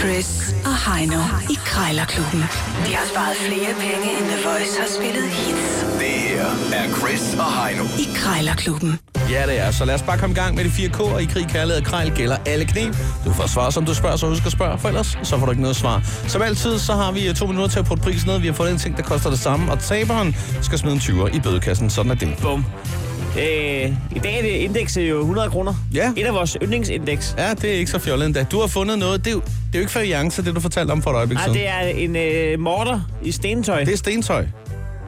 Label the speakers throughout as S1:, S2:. S1: Chris og Heino i Krejlerklubben. De har sparet flere penge, end The Voice har spillet hits
S2: Det her er Chris og Heino.
S1: i Krejlerklubben.
S3: Ja, det er. Så lad os bare komme i gang med de fire K'er i krig, kærlighed og krejl gælder alle knep. Du får svar, som du spørger, så husk at spørge, for ellers så får du ikke noget svar. Som altid, så har vi øh, to minutter til at putte prisen ned. Vi har fået en ting, der koster det samme, og taberen skal smide en 20'er i bødekassen. Sådan er det.
S4: Bum. Øh, I dag er det indekset jo 100 kroner.
S3: Ja.
S4: Et af vores yndlingsindeks.
S3: Ja, det er ikke så fjollet endda. Du har fundet noget. Det er jo, det er jo ikke feriance, det du fortalte om for et øjeblik
S4: Nej,
S3: siden.
S4: det er en øh, morter i stentøj.
S3: det er stentøj.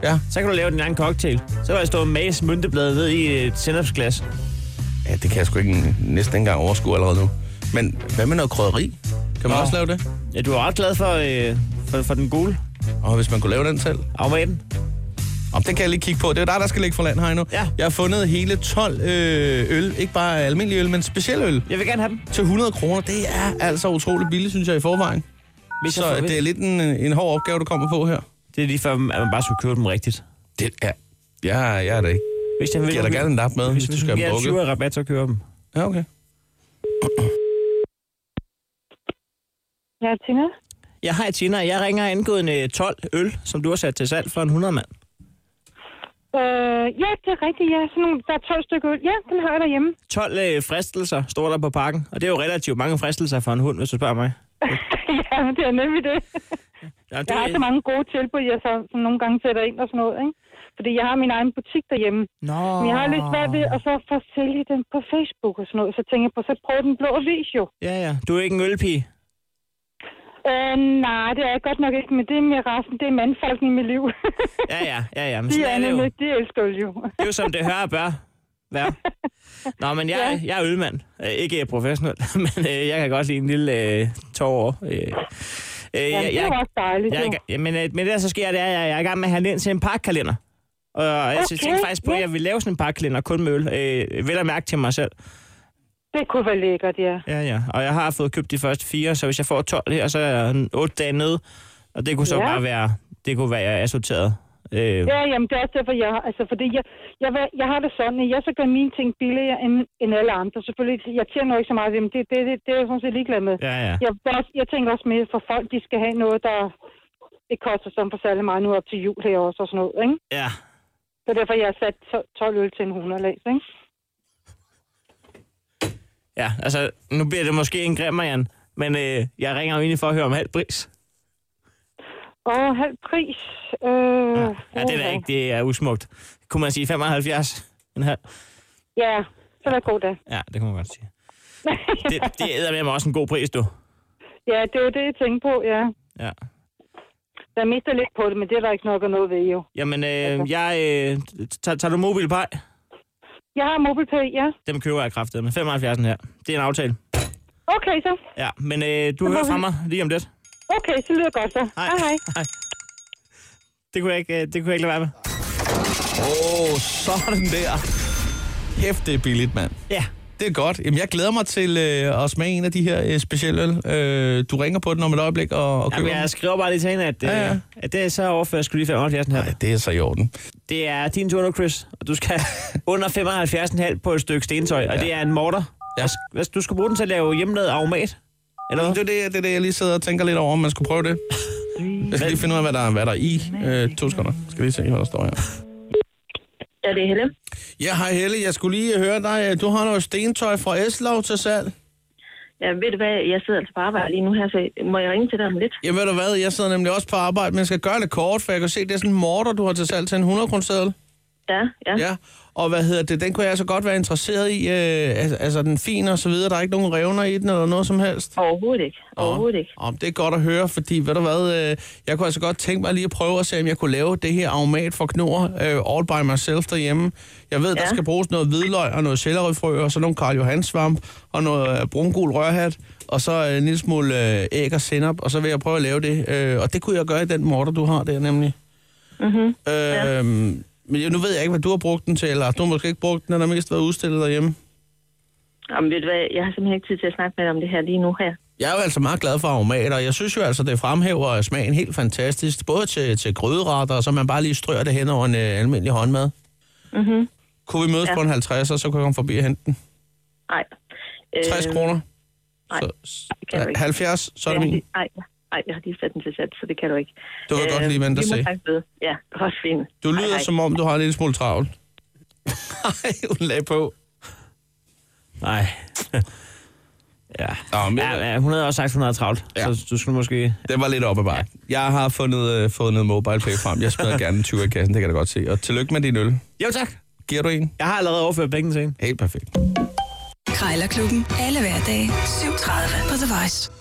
S3: Ja.
S4: Så kan du lave din egen cocktail. Så kan jeg stå og mase mynteblade ned i et sennepsglas.
S3: ja, det kan jeg sgu ikke næsten ikke engang overskue allerede nu. Men hvad med noget krydderi? Kan man
S4: Nå.
S3: også lave det?
S4: Ja, du er ret glad for, øh, for, for den gule
S3: Og hvis man kunne lave den selv?
S4: afmaten.
S3: Om det kan jeg lige kigge på. Det er dig, der skal ligge for land her nu.
S4: Ja.
S3: Jeg har fundet hele 12 øh, øl. Ikke bare almindelig øl, men speciel øl.
S4: Jeg vil gerne have dem.
S3: Til 100 kroner. Det er altså utroligt billigt, synes jeg, i forvejen.
S4: Hvis jeg
S3: Så
S4: får-
S3: det er lidt en, en hård opgave, du kommer på her.
S4: det er lige før, at man bare skulle købe dem rigtigt.
S3: Det er... Ja, jeg er det ikke.
S4: Hvis jeg
S3: Giver dig gerne en lap med, hvis,
S4: hvis,
S3: du
S4: hvis
S3: skal
S4: du
S3: have
S4: giver
S3: dem
S4: 20
S3: drukket.
S4: af rabat, så kører dem.
S3: Ja, okay.
S5: Ja, Tina.
S4: Jeg har Tina, jeg ringer angående 12 øl, som du har sat til salg for en 100 mand.
S5: Øh, ja, det er rigtigt, ja. Sådan nogle, der er 12 stykker øl. Ja, den har jeg derhjemme.
S4: 12 øh, fristelser står der på pakken, og det er jo relativt mange fristelser for en hund, hvis du spørger mig.
S5: ja, men det er nemlig det.
S4: Ja, det,
S5: Jeg har så mange gode tilbud, jeg så som nogle gange sætter ind og sådan noget, ikke? Fordi jeg har min egen butik derhjemme.
S4: Nå.
S5: Men jeg har lidt svært ved, og så få sælge den på Facebook og sådan noget. Så tænker jeg på, så prøv den blå avis jo.
S4: Ja, ja. Du er ikke en ølpige.
S5: Øh, nej, det er jeg godt nok ikke, men det er mere resten. Det er mandfolken i mit liv.
S4: Ja, ja, ja, ja. Men
S5: de
S4: sådan
S5: er
S4: er det jo.
S5: nemlig, de elsker øl jo.
S4: Det er jo som det hører og bør. Hvad? Nå, men jeg, jeg er ølmand. Øh, Ikke professionel, men øh, jeg kan godt lide en lille øh, tårer. Øh, øh,
S5: Ja,
S4: jeg,
S5: det er jo
S4: jeg,
S5: også dejligt.
S4: jeg,
S5: jo.
S4: er i gang- men, øh, men det der så sker, det er, at jeg, jeg er i gang med at handle ind til en pakkalender. Og jeg okay,
S5: Okay,
S4: tænkte faktisk på, at
S5: ja.
S4: jeg ville lave sådan en pakkalender kun med øl. Øh, vel at mærke til mig selv.
S5: Det kunne være lækkert, ja.
S4: Ja, ja. Og jeg har fået købt de første fire, så hvis jeg får 12 her, så er jeg 8 dage nede. Og det kunne så ja.
S5: Ja.
S4: bare være, det kunne være, jeg er sorteret. Øh,
S5: Ja, jamen det er også derfor, jeg, altså, fordi jeg, jeg, vil- jeg har det sådan, at jeg så gør mine ting billigere end, end alle andre. Selvfølgelig, jeg tjener jo ikke så meget, men det, det, det, det er jeg sådan set ligeglad med. Ja.
S4: ja, ja.
S5: Jeg, vil også, jeg tænker også mere for folk, de skal have noget, der ikke koster som for særlig meget nu op til jul her også og sådan noget, ikke?
S4: ja.
S5: Så derfor, jeg har sat to- 12 øl til en 100 læs, ikke?
S4: Ja, altså, nu bliver det måske en grimmer, Jan, men øh, jeg ringer jo egentlig for at høre om halv pris.
S5: Og halv pris. Øh,
S4: Ja, ja det er da ikke, det er usmukt. Kunne man sige 75? En halv?
S5: Ja, så er det god dag.
S4: Ja, det kunne man godt sige. Det, det æder med også en god pris, du.
S5: Ja, det er jo det, jeg tænker på, ja.
S4: Ja.
S5: Jeg mister lidt på det, men det er der ikke nok at noget ved, jo.
S4: Jamen, øh, jeg, øh, tager, tager du mobilpej?
S5: Jeg har MobilePay, ja.
S4: Dem køber jeg kraftedet med 75 her. Det er en aftale.
S5: Okay, så.
S4: Ja, men øh, du hører fra mig lige om lidt.
S5: Okay, så lyder det godt så. Hej, hej.
S4: hej. Det kunne jeg ikke, øh, det kunne jeg ikke lade være med.
S3: Åh, oh, sådan der. Hæft, det er billigt, mand.
S4: Ja,
S3: Det er godt. Jamen, jeg glæder mig til øh, at smage en af de her øh, specielle øl. Øh, du ringer på den om et øjeblik og, og køber
S4: Jamen, jeg skriver bare lige til hende, at, øh,
S3: Ja, ja.
S4: at det er så overført skulle lige 75 her.
S3: Nej, det er så i orden.
S4: Det er din tur nu, Chris, og du skal under 75,5 på et stykke stentøj, og det er en morter.
S3: Ja.
S4: Hvis du skal bruge den til at lave hjemmelavet aromat, eller
S3: Det
S4: hvad?
S3: er det, det, er det, jeg lige sidder og tænker lidt over, om man skulle prøve det. Jeg skal lige finde ud af, hvad der, er- hvad der er i. Øh, to sekunder. Jeg skal lige se, hvad der står her.
S5: Ja, det er Helle.
S3: Ja, hej Helle. Jeg skulle lige høre dig. Øh, Du har noget stentøj fra Eslov til salg.
S6: Ja, ved du hvad, jeg sidder altså på arbejde lige nu her, så må jeg ringe til dig om lidt?
S3: Jamen ved du hvad, jeg sidder nemlig også på arbejde, men jeg skal gøre det kort, for jeg kan se, det er sådan en morter, du har til salg til en 100 kroner
S6: Ja, ja.
S3: Ja. Og hvad hedder det, den kunne jeg så godt være interesseret i. Øh, altså, altså, den er fin og så videre. Der er ikke nogen revner i den eller noget som helst.
S6: Overhovedet ikke. Overhovedet ikke.
S3: Om det er godt at høre, fordi ved du hvad, øh, jeg kunne altså godt tænke mig lige at prøve at se, om jeg kunne lave det her aromat for knor øh, all by myself derhjemme. Jeg ved, ja. der
S6: Ja.
S3: skal bruges noget hvidløg og noget sellerifrø og så nogle Karl Johan svamp og noget øh, brungul rørhat og så øh, en lille smule øh, æg og senap, og så vil jeg prøve at lave det. Øh, og det kunne jeg gøre i den morter, du har der nemlig. Mm-hmm. Øh, ja. Men jeg, nu ved jeg ikke, hvad du har brugt den til, eller du har måske ikke brugt den, den har mest været udstillet derhjemme.
S6: Jamen, ved du hvad, jeg har simpelthen ikke tid til at snakke med dig om det her lige nu her.
S3: Jeg er jo altså meget glad for aromater, og jeg synes jo altså, det fremhæver smagen helt fantastisk, både til, til gryderetter, og så man bare lige strør det hen over en øh, almindelig håndmad. Mm-hmm. Kunne vi mødes ja. på en 50, og så kunne jeg komme forbi og hente den.
S6: Nej.
S3: 60 øh... kroner.
S6: Nej,
S3: så,
S6: det kan du ikke.
S3: 70, så er
S6: Øhm,
S3: det min.
S6: Nej, nej, jeg har lige sat den til sat, så det kan du ikke. Øh,
S3: Det var godt lige, hvad
S6: men
S3: der sagde.
S6: Ja, godt fint.
S3: Du lyder, som om du har en lille smule travlt. Nej, hun lagde på.
S4: Nej. ja.
S3: Mm. Nå, men,
S4: Ja, ja, hun havde også sagt, hun havde travlt.
S3: Ja.
S4: Ja. Så du skulle måske...
S3: Det var lidt op ad bakke. Jeg har fundet, øh, fået noget MobilePay frem. Jeg smider gerne en 20 i kassen, det kan jeg da godt se. Og tillykke med din øl.
S4: Jo tak.
S3: Giver du en?
S4: Jeg har allerede overført penge til hende.
S3: Helt perfekt.
S1: Krejlerklubben. Alle hverdage. 7.30 på The Voice.